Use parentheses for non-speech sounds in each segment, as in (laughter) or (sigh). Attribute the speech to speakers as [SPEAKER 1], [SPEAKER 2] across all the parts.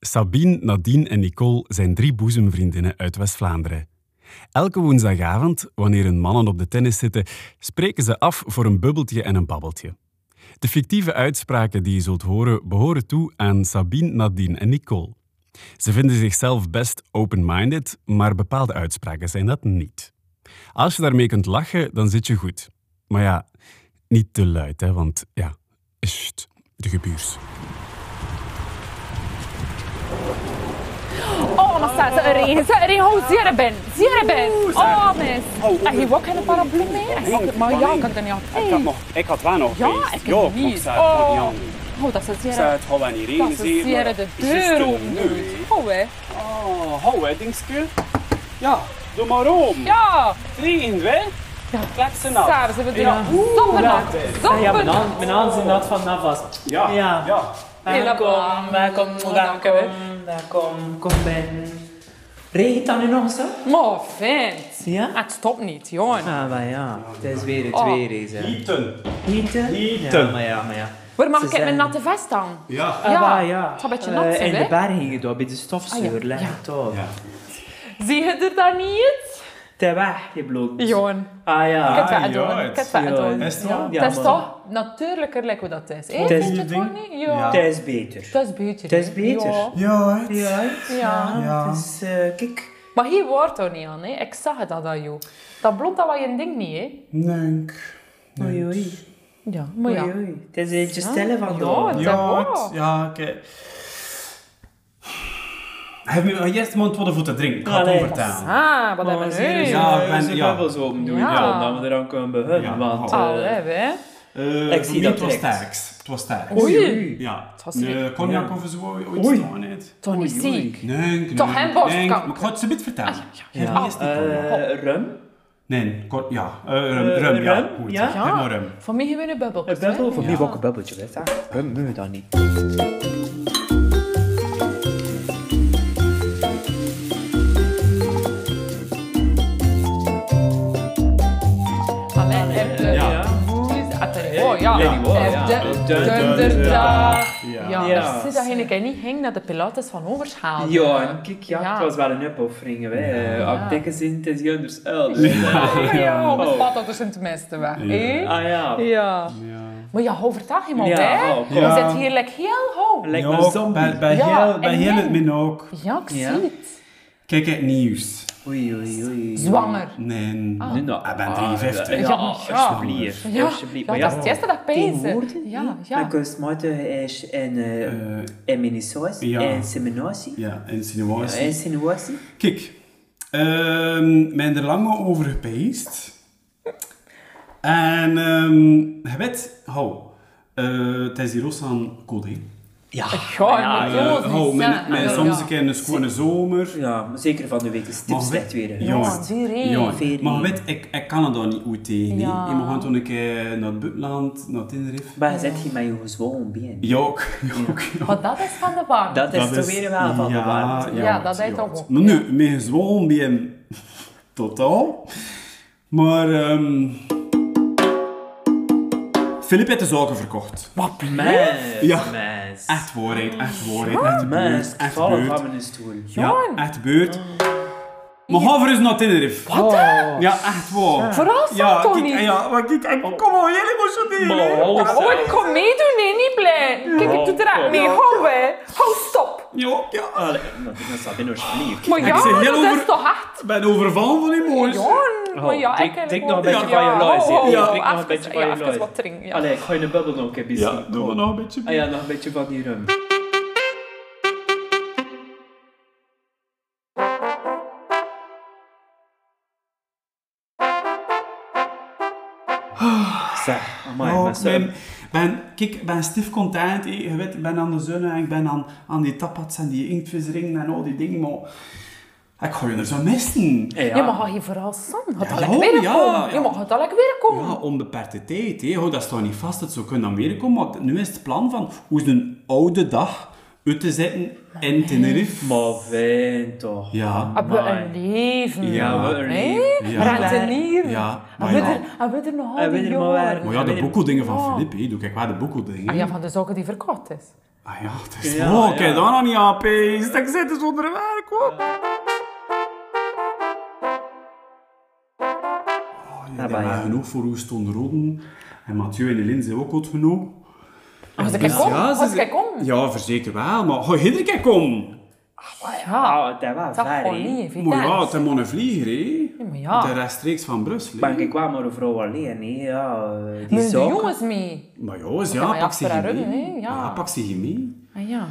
[SPEAKER 1] Sabine, Nadine en Nicole zijn drie boezemvriendinnen uit West-Vlaanderen. Elke woensdagavond, wanneer hun mannen op de tennis zitten, spreken ze af voor een bubbeltje en een babbeltje. De fictieve uitspraken die je zult horen behoren toe aan Sabine, Nadine en Nicole. Ze vinden zichzelf best open-minded, maar bepaalde uitspraken zijn dat niet. Als je daarmee kunt lachen, dan zit je goed. Maar ja, niet te luid, hè, want ja, sst, de gebuurs.
[SPEAKER 2] Oh, maar staat er regen. Staat er regen. Oh, zeer ben. Zeer ben. Oh, mis. Heb je ook geen paraplu mee? Ik zag het, Maar ja, ik had dat niet
[SPEAKER 3] Ik had, nog, ik had wel nog
[SPEAKER 2] Ja,
[SPEAKER 3] feest.
[SPEAKER 2] ik heb
[SPEAKER 3] ja,
[SPEAKER 2] niet.
[SPEAKER 3] Ik zei, het
[SPEAKER 2] Oh.
[SPEAKER 3] kon niet anders.
[SPEAKER 2] Oh, dat is
[SPEAKER 3] Ik
[SPEAKER 2] zeer.
[SPEAKER 3] zei, het gaat wel niet
[SPEAKER 2] Dat
[SPEAKER 3] regen,
[SPEAKER 2] is
[SPEAKER 3] zeer, maar
[SPEAKER 2] zeer de
[SPEAKER 3] het is juist
[SPEAKER 2] deur
[SPEAKER 3] een
[SPEAKER 2] open.
[SPEAKER 3] nu, hè.
[SPEAKER 2] Oh, hè.
[SPEAKER 3] Oh, hou hè, dingske. Ja, doe maar om.
[SPEAKER 2] Ja.
[SPEAKER 3] Regen, hè. Ja. Kletsen af.
[SPEAKER 2] Daar zijn we
[SPEAKER 3] Nou. Ja,
[SPEAKER 2] doen.
[SPEAKER 3] oeh,
[SPEAKER 2] Zoppernak.
[SPEAKER 3] dat is-
[SPEAKER 4] Ja, mijn
[SPEAKER 2] Zoppernak.
[SPEAKER 4] hand, mijn hand zit nat van nafas.
[SPEAKER 3] Ja, ja.
[SPEAKER 4] Ja.
[SPEAKER 2] Helemaal.
[SPEAKER 4] Welkom, welkom,
[SPEAKER 2] Dank u, hè.
[SPEAKER 4] welkom, welkom, kom binnen. Regent dat nu nog eens? hè?
[SPEAKER 2] Maar Oh, vent. Ah,
[SPEAKER 4] Ja?
[SPEAKER 2] Het stopt niet, jongen.
[SPEAKER 4] Ah, maar ja, het is weer het
[SPEAKER 2] Oh.
[SPEAKER 4] weer eens. hè.
[SPEAKER 3] Gieten.
[SPEAKER 4] Hieten?
[SPEAKER 3] Hieten.
[SPEAKER 4] Ja, maar ja, maar ja.
[SPEAKER 2] Waar mag
[SPEAKER 4] Ze
[SPEAKER 2] ik met mijn
[SPEAKER 4] zijn-
[SPEAKER 2] natte vest aan?
[SPEAKER 3] Ja.
[SPEAKER 4] Ah,
[SPEAKER 2] Ja,
[SPEAKER 4] maar ja.
[SPEAKER 2] het zal een beetje
[SPEAKER 4] Eh,
[SPEAKER 2] nat zijn,
[SPEAKER 4] In
[SPEAKER 2] hè?
[SPEAKER 4] de bergen gedaan, bij de
[SPEAKER 2] Ah, ja.
[SPEAKER 4] stofzuur, leg
[SPEAKER 2] Ja.
[SPEAKER 4] het op.
[SPEAKER 3] Ja.
[SPEAKER 2] Zie je er dan niet?
[SPEAKER 4] Ter weg geblokt.
[SPEAKER 2] Jongen.
[SPEAKER 4] Ah
[SPEAKER 2] Ik heb
[SPEAKER 4] ja.
[SPEAKER 3] Ah,
[SPEAKER 2] het
[SPEAKER 3] ja,
[SPEAKER 2] doen.
[SPEAKER 3] het-
[SPEAKER 2] Ik heb het
[SPEAKER 4] ja,
[SPEAKER 2] doen.
[SPEAKER 4] is
[SPEAKER 3] het
[SPEAKER 2] Ja.
[SPEAKER 3] wel?
[SPEAKER 4] Ja,
[SPEAKER 2] Het is
[SPEAKER 4] maar-
[SPEAKER 2] toch natuurlijker lijkt hoe dat is. hè?
[SPEAKER 4] Het
[SPEAKER 2] Vind
[SPEAKER 4] is
[SPEAKER 2] je
[SPEAKER 4] niet
[SPEAKER 2] het
[SPEAKER 3] ding.
[SPEAKER 2] ook niet? Ja.
[SPEAKER 4] Het is beter.
[SPEAKER 2] Dat is beter.
[SPEAKER 4] Het is
[SPEAKER 2] hè?
[SPEAKER 4] beter.
[SPEAKER 2] Ja.
[SPEAKER 3] Ja, hè.
[SPEAKER 4] Ja,
[SPEAKER 2] Ja.
[SPEAKER 4] ja. Het is, eh, kijk.
[SPEAKER 2] Maar hier wordt er niet aan, hè. Ik zag het dat aan jou. Dat blond, dat was je ding niet, hè.
[SPEAKER 3] Nee.
[SPEAKER 4] Oei, oei.
[SPEAKER 2] Ja, maar
[SPEAKER 4] Oei,
[SPEAKER 2] ja.
[SPEAKER 4] oei. Het is eentje
[SPEAKER 2] Ja.
[SPEAKER 4] stille van
[SPEAKER 2] Ja, Oh, het is waar.
[SPEAKER 3] ja, oké. Heb je eerst mond wat voor te drinken? Ik
[SPEAKER 4] Allee.
[SPEAKER 2] Ah,
[SPEAKER 4] Oh,
[SPEAKER 2] wat hebben we nu?
[SPEAKER 3] Ja. ik ben-
[SPEAKER 4] Ze hebben zo open doen,
[SPEAKER 2] Ja. Ah,
[SPEAKER 4] ja. dat we eraan kunnen beginnen.
[SPEAKER 3] Ja.
[SPEAKER 4] Want, eh,
[SPEAKER 2] Allee, hè.
[SPEAKER 3] Eh,
[SPEAKER 4] Ik
[SPEAKER 3] voor
[SPEAKER 4] zie
[SPEAKER 3] mij
[SPEAKER 4] dat
[SPEAKER 3] Het was
[SPEAKER 4] direct.
[SPEAKER 3] sterks. Het was sterks.
[SPEAKER 2] Ah, Oei.
[SPEAKER 3] Ja.
[SPEAKER 2] was
[SPEAKER 3] De
[SPEAKER 2] niet-
[SPEAKER 3] cognac
[SPEAKER 4] Ja.
[SPEAKER 3] of zo ooit ooit
[SPEAKER 4] Oei.
[SPEAKER 3] staan niet.
[SPEAKER 2] Toch niet
[SPEAKER 4] Oei, oei.
[SPEAKER 2] ziek.
[SPEAKER 3] Nee, nee.
[SPEAKER 2] Toch geen borstkanker?
[SPEAKER 3] nee, Maar ik ga het ze bit
[SPEAKER 2] Ah,
[SPEAKER 3] vertellen. Geef me
[SPEAKER 4] Ja.
[SPEAKER 3] eerst die cognac.
[SPEAKER 2] Oh.
[SPEAKER 4] Eh, rum.
[SPEAKER 3] Nee, kort, ja. Eh, rum,
[SPEAKER 4] Eh,
[SPEAKER 3] rum, ja.
[SPEAKER 4] rum,
[SPEAKER 3] Goed.
[SPEAKER 4] ja.
[SPEAKER 3] Geef maar rum.
[SPEAKER 2] Van mij hebben we een bubbel.
[SPEAKER 4] Een bubbel? Voor mij ook een bubbeltje, weet je. Rum moet je dan niet.
[SPEAKER 2] Allee, heb de...
[SPEAKER 3] Ja.
[SPEAKER 2] Woes- Ah, sorry. Oh, ja.
[SPEAKER 4] Ja, die woord,
[SPEAKER 2] Heb
[SPEAKER 4] ja.
[SPEAKER 2] de-
[SPEAKER 4] De-
[SPEAKER 2] Dunderdag.
[SPEAKER 3] Ja.
[SPEAKER 2] Ja,
[SPEAKER 4] Ja.
[SPEAKER 2] ik zie dat je een keer niet ging naar de Pilates van Overschaal.
[SPEAKER 4] Ja, en kijk, ja,
[SPEAKER 2] Ja.
[SPEAKER 4] het was wel een opoffering. hè. Eh,
[SPEAKER 2] Ja.
[SPEAKER 4] Op dikke zin, het is dus- eh, anders elders.
[SPEAKER 2] Ah, Ja, ja.
[SPEAKER 4] Oh.
[SPEAKER 2] Mijn spat dat tussen de meeste weg, hè.
[SPEAKER 4] Ah ja.
[SPEAKER 2] Ja.
[SPEAKER 3] Ja.
[SPEAKER 2] Maar ja, hou vertel iemand,
[SPEAKER 4] Ja,
[SPEAKER 2] hè.
[SPEAKER 4] oh, kom.
[SPEAKER 2] Je zit hier like, heel hoog.
[SPEAKER 4] Lijkt me
[SPEAKER 3] Ja,
[SPEAKER 4] een zombie.
[SPEAKER 3] Bij, bij
[SPEAKER 2] Ja,
[SPEAKER 3] heel, bij
[SPEAKER 2] en
[SPEAKER 3] heel
[SPEAKER 2] jij?
[SPEAKER 3] het min ook.
[SPEAKER 2] Ja, ik
[SPEAKER 4] Ja.
[SPEAKER 2] zie het.
[SPEAKER 3] Kijk het nieuws.
[SPEAKER 4] Oei, oei, oei.
[SPEAKER 2] Zwanger.
[SPEAKER 3] Nee.
[SPEAKER 4] Nu nou.
[SPEAKER 3] Ik ben
[SPEAKER 4] ah,
[SPEAKER 3] 53.
[SPEAKER 4] Ja,
[SPEAKER 2] Ja,
[SPEAKER 4] alsjeblieft.
[SPEAKER 2] Ja,
[SPEAKER 4] alsjeblieft.
[SPEAKER 2] ja,
[SPEAKER 4] Maar
[SPEAKER 2] dat is het eerste dat ik pees.
[SPEAKER 4] tegenwoordig,
[SPEAKER 2] Ja,
[SPEAKER 4] Mijn
[SPEAKER 2] ja.
[SPEAKER 4] kunstmatige is en, eh
[SPEAKER 3] Eh,
[SPEAKER 4] en minisaus
[SPEAKER 3] ja.
[SPEAKER 4] en seminatie
[SPEAKER 3] ja, insinuatie.
[SPEAKER 4] en sinuatie.
[SPEAKER 3] Kijk, ehm mijn er lang al over gepeest. En ehm je weet, hou, eh, het is hier ook aan code. hè.
[SPEAKER 4] Ja.
[SPEAKER 2] Goh,
[SPEAKER 4] Ah, Ja, Oh,
[SPEAKER 2] met
[SPEAKER 3] Eh,
[SPEAKER 2] doos
[SPEAKER 3] hou,
[SPEAKER 2] niet
[SPEAKER 3] mijn,
[SPEAKER 2] zijn.
[SPEAKER 3] mijn,
[SPEAKER 2] Ja.
[SPEAKER 3] soms een keer een schone zomer.
[SPEAKER 4] Ja, maar zeker van de week is
[SPEAKER 3] Maar
[SPEAKER 4] het slecht
[SPEAKER 3] je weet-
[SPEAKER 4] weer. hè.
[SPEAKER 3] Ja,
[SPEAKER 2] Ja, die regen.
[SPEAKER 3] ja,
[SPEAKER 4] Veer
[SPEAKER 3] maar je
[SPEAKER 4] regen.
[SPEAKER 3] weet, ik, ik kan het daar niet goed tegen.
[SPEAKER 2] Ja.
[SPEAKER 3] Ja. Je mag toen een keer naar het buitenland, naar Tenerife.
[SPEAKER 4] Maar zet je met je gezwollen been?
[SPEAKER 3] Ja, ook. Ja, ook, ja.
[SPEAKER 2] Maar dat is van de warmte.
[SPEAKER 4] Dat is toch weer wel van de
[SPEAKER 3] ja,
[SPEAKER 4] warmte.
[SPEAKER 2] Ja, dat deed toch ook.
[SPEAKER 3] Maar nu, mijn gezwollen been, (laughs) totaal. Maar, ehm Filip heeft de zaken verkocht.
[SPEAKER 4] Wat mens,
[SPEAKER 3] Ja.
[SPEAKER 4] mens.
[SPEAKER 3] Echt waarheid, echt waarheid, echt
[SPEAKER 4] Mens,
[SPEAKER 3] beurt,
[SPEAKER 4] ik
[SPEAKER 3] echt
[SPEAKER 4] val
[SPEAKER 3] beurt.
[SPEAKER 4] van mijn stoel.
[SPEAKER 3] Ja, echt beurt. Maar ga voor eens naar Tenerife. Oh.
[SPEAKER 4] Wat?
[SPEAKER 3] Ja, echt waar.
[SPEAKER 2] Vooral zo,
[SPEAKER 3] Ja, kijk,
[SPEAKER 2] Tony.
[SPEAKER 3] eh, ja, maar kijk, eh, kom maar, heel emotioneel. hè.
[SPEAKER 2] Oh, ik kom meedoen, nee, niet blij. Kijk, ik doe er echt mee. Hou, hè. Hou, stop.
[SPEAKER 3] Ja, ja.
[SPEAKER 4] Allee, dat is dat binnen alsjeblieft.
[SPEAKER 2] Maar ja,
[SPEAKER 3] Ik zeg heel
[SPEAKER 2] dat is
[SPEAKER 3] over-
[SPEAKER 2] toch hard.
[SPEAKER 3] Ik ben overvallen van emoties.
[SPEAKER 2] Jon, maar Oh, ja,
[SPEAKER 4] Oh, drink-
[SPEAKER 2] ik
[SPEAKER 4] drink nog een beetje van je
[SPEAKER 2] luis.
[SPEAKER 4] luis, hè.
[SPEAKER 2] Ja, Oh,
[SPEAKER 4] Drink nog een
[SPEAKER 2] even-
[SPEAKER 4] beetje van je
[SPEAKER 2] ja, even
[SPEAKER 4] luis.
[SPEAKER 2] wat drinken. Ja.
[SPEAKER 4] Allee, ik ga je een bubbel nog een keer
[SPEAKER 3] Ja,
[SPEAKER 4] bezien.
[SPEAKER 3] doe maar nog een beetje.
[SPEAKER 4] Ah ja, nog een beetje van die rum. Zeg, amai,
[SPEAKER 3] Oh,
[SPEAKER 4] maar
[SPEAKER 3] ik
[SPEAKER 4] zo-
[SPEAKER 3] ben, ben, kijk, ik ben stief content. eh. Je weet, ik ben aan de zon en ik ben aan, aan die tapats en die inktvisringen en al die dingen, maar ik ga je er zo missen.
[SPEAKER 2] Ja, maar ga je vooral samen. Gaat dat
[SPEAKER 3] Ja,
[SPEAKER 4] Oh,
[SPEAKER 2] lekker weer
[SPEAKER 3] ja,
[SPEAKER 2] komen?
[SPEAKER 3] ja.
[SPEAKER 2] Ja, maar gaat dat lekker weer komen?
[SPEAKER 3] Ja, onbeperkte tijd. Hè. Hou, dat staat niet vast, dat zou kunnen aan weer komen. Maar nu is het plan van hoe is een oude dag uit te zetten in Tenerife.
[SPEAKER 4] Maar wijn toch.
[SPEAKER 3] Ja.
[SPEAKER 2] Hebben we
[SPEAKER 4] Amai.
[SPEAKER 2] een leven?
[SPEAKER 3] Ja,
[SPEAKER 4] we een
[SPEAKER 2] Nee?
[SPEAKER 4] leven.
[SPEAKER 3] Ja.
[SPEAKER 2] Rentenier.
[SPEAKER 3] Ja, maar
[SPEAKER 2] Hebben we
[SPEAKER 3] ja.
[SPEAKER 2] er- hebben we er nog
[SPEAKER 4] Hebben we
[SPEAKER 2] altijd
[SPEAKER 4] er maar waar.
[SPEAKER 2] jongen?
[SPEAKER 3] Maar ja, de boekeldingen van
[SPEAKER 2] Ja.
[SPEAKER 3] Filip, hè. doe kijk waar de boekeldingen.
[SPEAKER 2] Ah ja, van de zaken die verkocht is.
[SPEAKER 3] Ah ja, het is...
[SPEAKER 4] Ja,
[SPEAKER 3] oh, ik heb
[SPEAKER 4] ja.
[SPEAKER 3] dat nog niet aanpeest. Ik zit dus onder werk, hoor. Oh, ja,
[SPEAKER 4] Ah,
[SPEAKER 3] die
[SPEAKER 4] bah, ja.
[SPEAKER 3] waren genoeg voor hoe stond Roden. En Mathieu en Helene zijn ook goed genoeg.
[SPEAKER 2] Als ik er kom,
[SPEAKER 3] Dus Ja, ze
[SPEAKER 2] als ik
[SPEAKER 3] zijn-
[SPEAKER 2] er kom.
[SPEAKER 3] Ja, verzeker wel. Maar ga iedere keer komen.
[SPEAKER 2] Ja,
[SPEAKER 4] Ah, dat was
[SPEAKER 2] dat
[SPEAKER 4] ver,
[SPEAKER 2] gewoon
[SPEAKER 4] hè.
[SPEAKER 2] niet, vind
[SPEAKER 3] Maar ja,
[SPEAKER 2] ik.
[SPEAKER 3] het is maar een vlieger, hè.
[SPEAKER 2] maar
[SPEAKER 3] De
[SPEAKER 2] ja.
[SPEAKER 3] rechtstreeks van Brussel, hè.
[SPEAKER 4] Maar ik kwam maar een vrouw alleen, hè. Ja, eh, die
[SPEAKER 2] Neem de
[SPEAKER 4] zak.
[SPEAKER 2] jongens mee.
[SPEAKER 3] Maar ja, eens,
[SPEAKER 2] Ja,
[SPEAKER 3] ja,
[SPEAKER 2] maar ja,
[SPEAKER 3] pak ze
[SPEAKER 2] voor
[SPEAKER 3] hier
[SPEAKER 2] haar rug,
[SPEAKER 3] mee.
[SPEAKER 2] hè, ja.
[SPEAKER 3] Ja, pak ze hier mee.
[SPEAKER 2] Ah ja.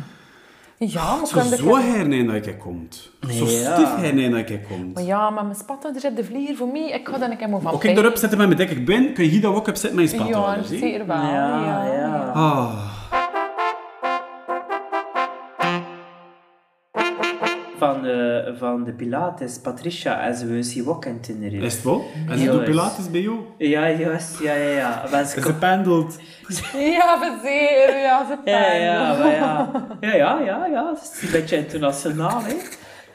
[SPEAKER 2] Ja, maar
[SPEAKER 3] Zo
[SPEAKER 2] kunnen
[SPEAKER 3] zo hernijn dat ik komt. Zo
[SPEAKER 4] Ja.
[SPEAKER 3] stief hernijn dat ik komt.
[SPEAKER 2] Maar ja, maar mijn spatten, er zit de vlier voor mij. Ik ga dan een keer maar van
[SPEAKER 3] Als ik erop zet met mijn dik ik ben, kun je hier dat ook op zetten met je
[SPEAKER 2] Ja,
[SPEAKER 3] spathouders. hè?
[SPEAKER 2] zeker wel.
[SPEAKER 4] Ja,
[SPEAKER 2] Oh, Ja,
[SPEAKER 4] ja.
[SPEAKER 3] Ah,
[SPEAKER 4] Van de, van de Pilates, Patricia en ze woont hier ook in Tenerife.
[SPEAKER 3] is het wel? En ze
[SPEAKER 4] Ja,
[SPEAKER 3] doet
[SPEAKER 4] is-
[SPEAKER 3] pilates bij jou?
[SPEAKER 4] Ja, juist. Ja, ja, ja. Maar ze
[SPEAKER 3] En
[SPEAKER 4] kon-
[SPEAKER 3] ze pendelt.
[SPEAKER 2] Ja, verzeer. Ja, ze
[SPEAKER 4] Ja,
[SPEAKER 2] pijn.
[SPEAKER 4] ja, maar ja. Ja, ja, ja, ja. Het is een beetje internationaal, hè.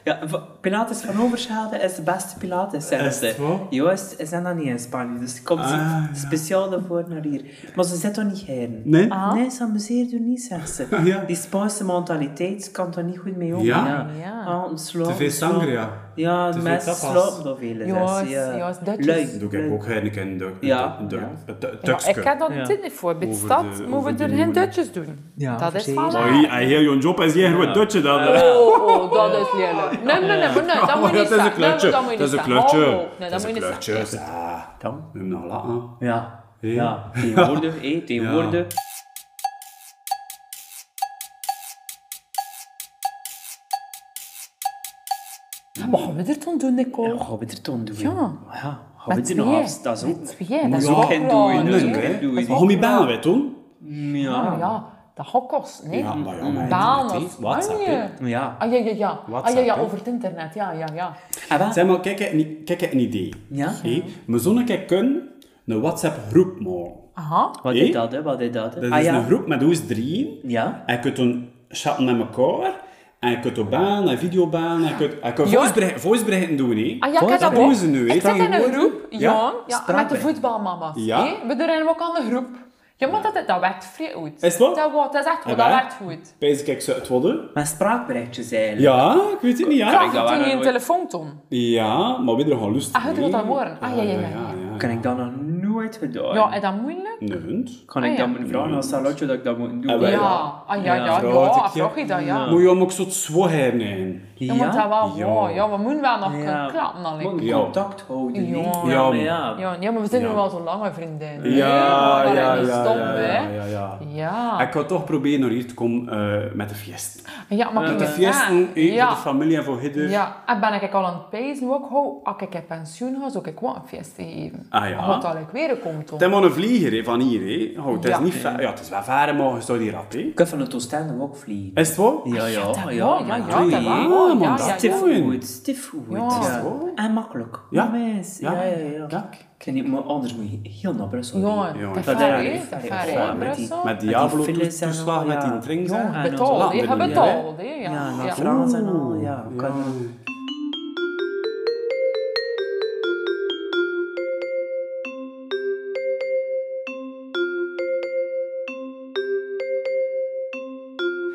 [SPEAKER 4] Ja, v- Pilates van Overschelde is de beste Pilates, zeggen
[SPEAKER 3] Is het
[SPEAKER 4] ze.
[SPEAKER 3] wel?
[SPEAKER 4] Juist, ze zijn dat niet in Spanje, dus komt ze
[SPEAKER 3] Ah, ja.
[SPEAKER 4] speciaal daarvoor naar hier. Maar ze zit toch niet heen?
[SPEAKER 3] Nee?
[SPEAKER 2] Ah.
[SPEAKER 4] Nee, ze amuseert er niet, zegt ze.
[SPEAKER 3] (laughs) Ja.
[SPEAKER 4] Die Spaanse mentaliteit kan daar niet goed mee om.
[SPEAKER 3] Ja.
[SPEAKER 2] Ja.
[SPEAKER 4] Ah, ontslaan,
[SPEAKER 3] Te veel
[SPEAKER 4] ontslaan.
[SPEAKER 3] sangria.
[SPEAKER 4] Ja,
[SPEAKER 3] Te
[SPEAKER 4] de
[SPEAKER 3] veel
[SPEAKER 4] mensen
[SPEAKER 3] tapas.
[SPEAKER 4] slapen door veel. dus,
[SPEAKER 2] Juist,
[SPEAKER 4] ja.
[SPEAKER 2] juist, Duitsers.
[SPEAKER 4] Lui,
[SPEAKER 3] Doe
[SPEAKER 4] lui.
[SPEAKER 3] ik ook hernijn een duk-
[SPEAKER 4] Ja.
[SPEAKER 3] een duk-
[SPEAKER 4] Ja.
[SPEAKER 3] een duk-
[SPEAKER 2] Ja, ik
[SPEAKER 3] tukske.
[SPEAKER 2] heb dat
[SPEAKER 4] Ja.
[SPEAKER 2] dit niet voor. Bij de
[SPEAKER 3] Over
[SPEAKER 2] stad
[SPEAKER 3] de- over
[SPEAKER 2] moeten we
[SPEAKER 3] de
[SPEAKER 2] er geen
[SPEAKER 3] jongen.
[SPEAKER 2] dutjes doen.
[SPEAKER 4] Ja,
[SPEAKER 2] dat is
[SPEAKER 4] precies.
[SPEAKER 2] van
[SPEAKER 3] Maar Oh, hier- hij heel jouw job is jij gewoon dutje dan. hè.
[SPEAKER 2] Oh, oh, dat is lelijk. Nee, nee, nee, nee, nee, dat moet
[SPEAKER 3] Maar
[SPEAKER 2] je niet
[SPEAKER 3] Oh, dat is een
[SPEAKER 2] zeggen. Nee,
[SPEAKER 3] kleurtje.
[SPEAKER 2] dat moet je
[SPEAKER 3] Dat is
[SPEAKER 2] niet
[SPEAKER 3] een
[SPEAKER 2] zeggen.
[SPEAKER 3] kleurtje.
[SPEAKER 2] Oh,
[SPEAKER 3] Dat
[SPEAKER 2] Nee, dat
[SPEAKER 3] is
[SPEAKER 2] moet
[SPEAKER 3] een
[SPEAKER 2] je niet
[SPEAKER 3] kleurtje.
[SPEAKER 2] zeggen.
[SPEAKER 3] Ja.
[SPEAKER 4] Dan.
[SPEAKER 3] Moet je hem nou nog laten.
[SPEAKER 4] Ja,
[SPEAKER 3] Ja.
[SPEAKER 4] ja. Tegenwoordig, hé, tegenwoordig.
[SPEAKER 2] Wat gaan we er dan doen, Nicole?
[SPEAKER 4] Wat Oh, gaan we er dan doen?
[SPEAKER 2] Ja.
[SPEAKER 4] ja gaan
[SPEAKER 2] Met
[SPEAKER 4] we er nog
[SPEAKER 2] tweeën.
[SPEAKER 4] af? Dat is ook...
[SPEAKER 2] Met tweeën, dat
[SPEAKER 4] Moet
[SPEAKER 2] is
[SPEAKER 4] je
[SPEAKER 2] ook
[SPEAKER 4] ook geen
[SPEAKER 2] raar, nee.
[SPEAKER 4] doen, dus
[SPEAKER 2] Dat
[SPEAKER 4] geen
[SPEAKER 2] is
[SPEAKER 4] doen.
[SPEAKER 3] Maar hoe mijn baan weet, toen?
[SPEAKER 2] Ah,
[SPEAKER 4] Ja.
[SPEAKER 2] ja, dat gaat kosten, hè?
[SPEAKER 3] Ja, maar ja, maar
[SPEAKER 2] Baan
[SPEAKER 3] internet,
[SPEAKER 2] of
[SPEAKER 3] hè. WhatsApp,
[SPEAKER 2] Spanje.
[SPEAKER 3] hè.
[SPEAKER 4] Ja.
[SPEAKER 2] Ah, ja, ja, ja. Ah, ja,
[SPEAKER 3] WhatsApp,
[SPEAKER 2] ja,
[SPEAKER 3] hè.
[SPEAKER 2] over het internet. Ja, ja, ja.
[SPEAKER 4] Ah, wel.
[SPEAKER 3] Zeg maar, kijk, ik heb een- kijk, ik heb een idee.
[SPEAKER 4] Ja.
[SPEAKER 3] Hé, Mijn zonnetje kan een WhatsApp-groep maken.
[SPEAKER 2] Aha.
[SPEAKER 4] Wat
[SPEAKER 3] Hé?
[SPEAKER 4] is dat, hè? Wat is dat, hè?
[SPEAKER 3] Dat is dus
[SPEAKER 4] ah, ja.
[SPEAKER 3] een groep met ons drieën.
[SPEAKER 4] Ja.
[SPEAKER 3] En je kunt dan chatten met elkaar. En je kunt op baan, en videobaan. En je kunt, en je kunt
[SPEAKER 2] Ja.
[SPEAKER 3] voiceberichten voiceberichten doen, hè.
[SPEAKER 2] Ah ja, ik
[SPEAKER 3] dat
[SPEAKER 2] heb dat
[SPEAKER 3] doen
[SPEAKER 2] ook.
[SPEAKER 3] ze nu, hè.
[SPEAKER 2] Ik zit in een
[SPEAKER 3] Tegenwoordig.
[SPEAKER 2] groep,
[SPEAKER 3] Ja.
[SPEAKER 2] Johan, ja,
[SPEAKER 4] straat,
[SPEAKER 2] met de
[SPEAKER 4] hè.
[SPEAKER 2] voetbalmama's.
[SPEAKER 3] Ja.
[SPEAKER 2] hè. We doen hem ook aan de groep. Ja, maar dat, dat werkt vrij goed.
[SPEAKER 3] Is het wel?
[SPEAKER 2] Dat, wa- dat is echt goed,
[SPEAKER 3] En
[SPEAKER 2] dat
[SPEAKER 3] wij?
[SPEAKER 2] werkt goed.
[SPEAKER 3] Pees ik, ik zou het wel doen.
[SPEAKER 4] Maar spraakberichtjes eigenlijk.
[SPEAKER 3] Ja, ik weet het niet,
[SPEAKER 4] Kijk,
[SPEAKER 3] ja.
[SPEAKER 4] dat
[SPEAKER 2] Toen
[SPEAKER 4] waren
[SPEAKER 2] je een
[SPEAKER 4] nooit-
[SPEAKER 2] telefoonton.
[SPEAKER 3] Ja, maar we er gaan lust
[SPEAKER 2] Ah, je doet
[SPEAKER 3] hè.
[SPEAKER 2] dat morgen. Ah, ja, ja, ja, ja.
[SPEAKER 4] Kan ik dat nog nooit gedaan?
[SPEAKER 2] Ja, is dat moeilijk?
[SPEAKER 3] Een hond.
[SPEAKER 4] Kan
[SPEAKER 2] Ah,
[SPEAKER 4] ik
[SPEAKER 2] ja.
[SPEAKER 4] dat moeten vragen aan Salotje dat ik dat moet doen?
[SPEAKER 3] Ah, wel,
[SPEAKER 2] Ja.
[SPEAKER 3] Ja.
[SPEAKER 2] Ah, ja, ja,
[SPEAKER 3] Vraag
[SPEAKER 2] ja,
[SPEAKER 3] ik je.
[SPEAKER 2] vraag je dat, ja.
[SPEAKER 3] Moet je hem ook zo zwaar hebben?
[SPEAKER 2] Je moet dat wel,
[SPEAKER 3] Ja.
[SPEAKER 2] ja. ja, we moeten wel nog
[SPEAKER 4] Ja.
[SPEAKER 2] kunnen klappen. alleen.
[SPEAKER 4] Moet
[SPEAKER 3] Ja.
[SPEAKER 4] contact houden,
[SPEAKER 2] Ja.
[SPEAKER 4] niet?
[SPEAKER 3] Ja,
[SPEAKER 4] maar
[SPEAKER 3] maar-
[SPEAKER 4] ja.
[SPEAKER 2] Ja, ja, maar we zijn
[SPEAKER 3] Ja.
[SPEAKER 2] nu wel zo lang, mijn vriendin.
[SPEAKER 3] Ja,
[SPEAKER 2] maar
[SPEAKER 3] ja,
[SPEAKER 2] dat is
[SPEAKER 3] ja,
[SPEAKER 2] stom,
[SPEAKER 3] ja,
[SPEAKER 2] hè.
[SPEAKER 3] ja, ja, ja.
[SPEAKER 2] Ja.
[SPEAKER 3] Ik ga toch proberen naar hier te komen eh, met de fiest.
[SPEAKER 2] Ja, maar
[SPEAKER 3] Met
[SPEAKER 2] kijk
[SPEAKER 3] de
[SPEAKER 2] eens,
[SPEAKER 3] fiesten,
[SPEAKER 2] hè.
[SPEAKER 3] eh,
[SPEAKER 2] Ja.
[SPEAKER 3] voor de familie en voor Hidder.
[SPEAKER 2] Ja, en ben ik al aan het pijzen ook, hoe, als ik in pensioen ga, zou ik wel een feest geven.
[SPEAKER 3] Ah, ja.
[SPEAKER 2] Wat dat ik weer komt om.
[SPEAKER 3] Het is maar een vlieger hè, van hier. Hè. Oh, het, is
[SPEAKER 2] Ja.
[SPEAKER 3] niet ver, ja, het is wel ver, maar je staat hier rap. Hè.
[SPEAKER 4] Ik kan van het Oostende ook vliegen.
[SPEAKER 3] Is het wel?
[SPEAKER 4] Ja, ja,
[SPEAKER 2] dat
[SPEAKER 4] ja.
[SPEAKER 2] wel, ja,
[SPEAKER 4] maar
[SPEAKER 2] ja,
[SPEAKER 4] doei,
[SPEAKER 2] dat wel.
[SPEAKER 4] hè.
[SPEAKER 2] Ja,
[SPEAKER 3] man,
[SPEAKER 2] ja,
[SPEAKER 3] dat
[SPEAKER 2] ja,
[SPEAKER 3] is
[SPEAKER 2] ja.
[SPEAKER 3] goed.
[SPEAKER 4] Goed, stief goed.
[SPEAKER 2] Ja.
[SPEAKER 3] Is het wel?
[SPEAKER 4] En makkelijk.
[SPEAKER 3] Ja.
[SPEAKER 4] Mens. Ja, ja, ja.
[SPEAKER 3] Kijk.
[SPEAKER 4] Ik weet niet, maar anders moet je heel naar Brussel
[SPEAKER 2] Ja,
[SPEAKER 4] gaan.
[SPEAKER 3] Ja,
[SPEAKER 2] te
[SPEAKER 3] dat
[SPEAKER 2] ver, hè,
[SPEAKER 4] daar-
[SPEAKER 2] te
[SPEAKER 4] ja,
[SPEAKER 2] ver,
[SPEAKER 4] ja,
[SPEAKER 2] hè,
[SPEAKER 4] met die-
[SPEAKER 2] Brussel.
[SPEAKER 3] Met
[SPEAKER 4] die
[SPEAKER 3] Diablo
[SPEAKER 4] files en
[SPEAKER 3] toeslag,
[SPEAKER 4] al,
[SPEAKER 3] met
[SPEAKER 4] ja.
[SPEAKER 3] die drinks. hè.
[SPEAKER 4] Ja. en
[SPEAKER 2] Betaald,
[SPEAKER 4] ons
[SPEAKER 2] hè, je
[SPEAKER 3] land,
[SPEAKER 2] betaald, hè.
[SPEAKER 4] Ja,
[SPEAKER 2] Ja,
[SPEAKER 4] naar
[SPEAKER 2] ja.
[SPEAKER 4] Frans en al. Ja,
[SPEAKER 3] Ja.
[SPEAKER 4] kan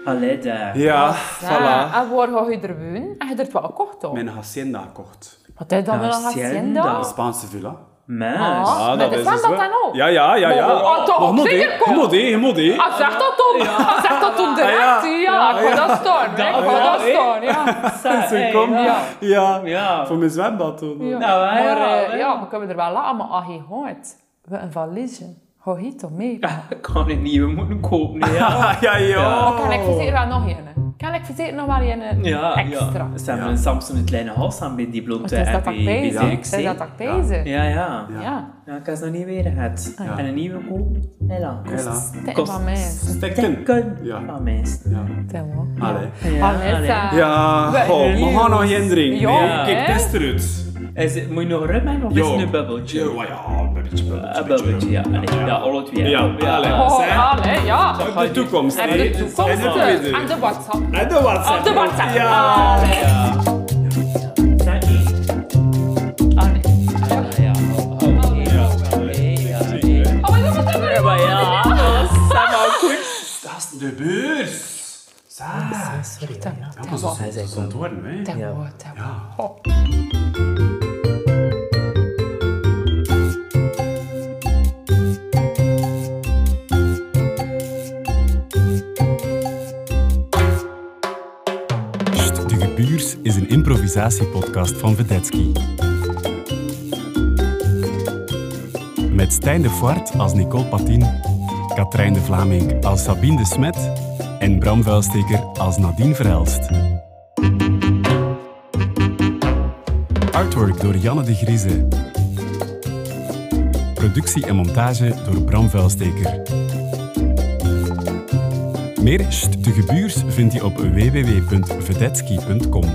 [SPEAKER 4] Allee, daar.
[SPEAKER 3] Ja,
[SPEAKER 2] Ja,
[SPEAKER 3] voilà.
[SPEAKER 2] En waar ga je er wonen? Heb je er het wel gekocht dan?
[SPEAKER 3] Mijn hacienda gekocht.
[SPEAKER 2] Wat is dat wel een
[SPEAKER 4] Hacienda.
[SPEAKER 2] hacienda?
[SPEAKER 3] Een Spaanse villa.
[SPEAKER 4] Mens.
[SPEAKER 2] Ah. Ja, dat
[SPEAKER 3] is
[SPEAKER 2] is dus wel-
[SPEAKER 3] Ja, ja, ja. ja.
[SPEAKER 2] Maar- Ah, toch,
[SPEAKER 3] Maar je moet, hè.
[SPEAKER 2] zeker, kom.
[SPEAKER 3] Je moet, hè, je moet, hè.
[SPEAKER 2] Ah, zeg dat dan! Ah, zeg dat dan
[SPEAKER 3] ja.
[SPEAKER 2] direct! Ja, ik ga dat staan, hè. ik
[SPEAKER 4] ja,
[SPEAKER 2] ga dat
[SPEAKER 4] hè.
[SPEAKER 2] staan, ja.
[SPEAKER 3] Ze
[SPEAKER 4] Hey,
[SPEAKER 3] komt.
[SPEAKER 4] ja.
[SPEAKER 3] Ja.
[SPEAKER 4] Ja.
[SPEAKER 3] Voor mijn zwembad toen.
[SPEAKER 2] Ja.
[SPEAKER 4] Nou, hè,
[SPEAKER 2] maar
[SPEAKER 4] ja,
[SPEAKER 2] eh,
[SPEAKER 4] hè.
[SPEAKER 2] ja, we kunnen er wel laten, maar als je hoort, we een valiesje. Hou hier toch mee?
[SPEAKER 4] Ik kan het niet, we moeten kopen. hè, Ja,
[SPEAKER 3] Ah, ja, joh.
[SPEAKER 2] Oh, Kan ik verzekeren wel nog een? Kan ik verzekeren nog wel een
[SPEAKER 4] ja.
[SPEAKER 2] extra?
[SPEAKER 4] ja. Ze hebben een Samson het kleine hals aan bij die
[SPEAKER 2] Want
[SPEAKER 4] blonde
[SPEAKER 2] het is dat
[SPEAKER 4] en
[SPEAKER 2] dat
[SPEAKER 4] bij- bij
[SPEAKER 2] bezig.
[SPEAKER 4] die
[SPEAKER 2] Het is dat
[SPEAKER 4] XC.
[SPEAKER 2] dat bezig.
[SPEAKER 4] Ja, ja.
[SPEAKER 2] Ja.
[SPEAKER 4] Ja, ik heb ze nog niet weer gehad. En een nieuwe koop. Hela.
[SPEAKER 3] Hela.
[SPEAKER 2] Tijd
[SPEAKER 4] Kost-
[SPEAKER 2] van mij.
[SPEAKER 3] Stekken.
[SPEAKER 4] Ja.
[SPEAKER 3] Ja.
[SPEAKER 4] Van mensen.
[SPEAKER 2] Tijd wel.
[SPEAKER 3] Allee.
[SPEAKER 2] Vanessa.
[SPEAKER 3] Ja,
[SPEAKER 2] We-
[SPEAKER 3] goh, we gaan nog geen drinken.
[SPEAKER 2] Ja,
[SPEAKER 3] nee. Kijk,
[SPEAKER 2] hè?
[SPEAKER 3] test eruit.
[SPEAKER 4] Is het, moet je nog rum hebben of is
[SPEAKER 3] Ja.
[SPEAKER 4] het een bubbeltje?
[SPEAKER 3] Ja, ja, een beetje,
[SPEAKER 4] Een bubbeltje, ja. Allee, ja, alle twee.
[SPEAKER 3] Ja, allee.
[SPEAKER 2] Oh,
[SPEAKER 3] Zeg.
[SPEAKER 2] aan, hè, ja.
[SPEAKER 3] Ook de toekomst.
[SPEAKER 2] En de toekomst.
[SPEAKER 3] En de
[SPEAKER 2] eh, En
[SPEAKER 3] toekomst.
[SPEAKER 2] de WhatsApp.
[SPEAKER 3] En de WhatsApp.
[SPEAKER 2] Op de WhatsApp.
[SPEAKER 3] Ja.
[SPEAKER 2] Ah, nee.
[SPEAKER 4] Zijn die?
[SPEAKER 2] Ah, nee.
[SPEAKER 4] Ja. Oké. Oké.
[SPEAKER 2] Oh, maar je moet dat weer-
[SPEAKER 4] Ja, dat is allemaal goed.
[SPEAKER 3] Dat is de beurs.
[SPEAKER 4] sorry. hoor, ja.
[SPEAKER 5] Ja, maar ze zijn-
[SPEAKER 2] Hij
[SPEAKER 5] ze
[SPEAKER 4] zei
[SPEAKER 5] zijn het worden, hè.
[SPEAKER 2] Dat
[SPEAKER 4] Ja.
[SPEAKER 2] wordt, dat wordt.
[SPEAKER 5] Ja.
[SPEAKER 2] Ho.
[SPEAKER 3] Pst, De Gebuurs is een improvisatiepodcast van Vedetsky. Met Stijn de Voort als Nicole Patin, Katrijn de Vlaming als Sabine de Smet en Bram Vuilsteker als Nadine Verhelst. Artwork door Janne de Grieze. Productie en montage door Bram Vuilsteker. Meer St. de Gebuurs vind je op www.vedetski.com.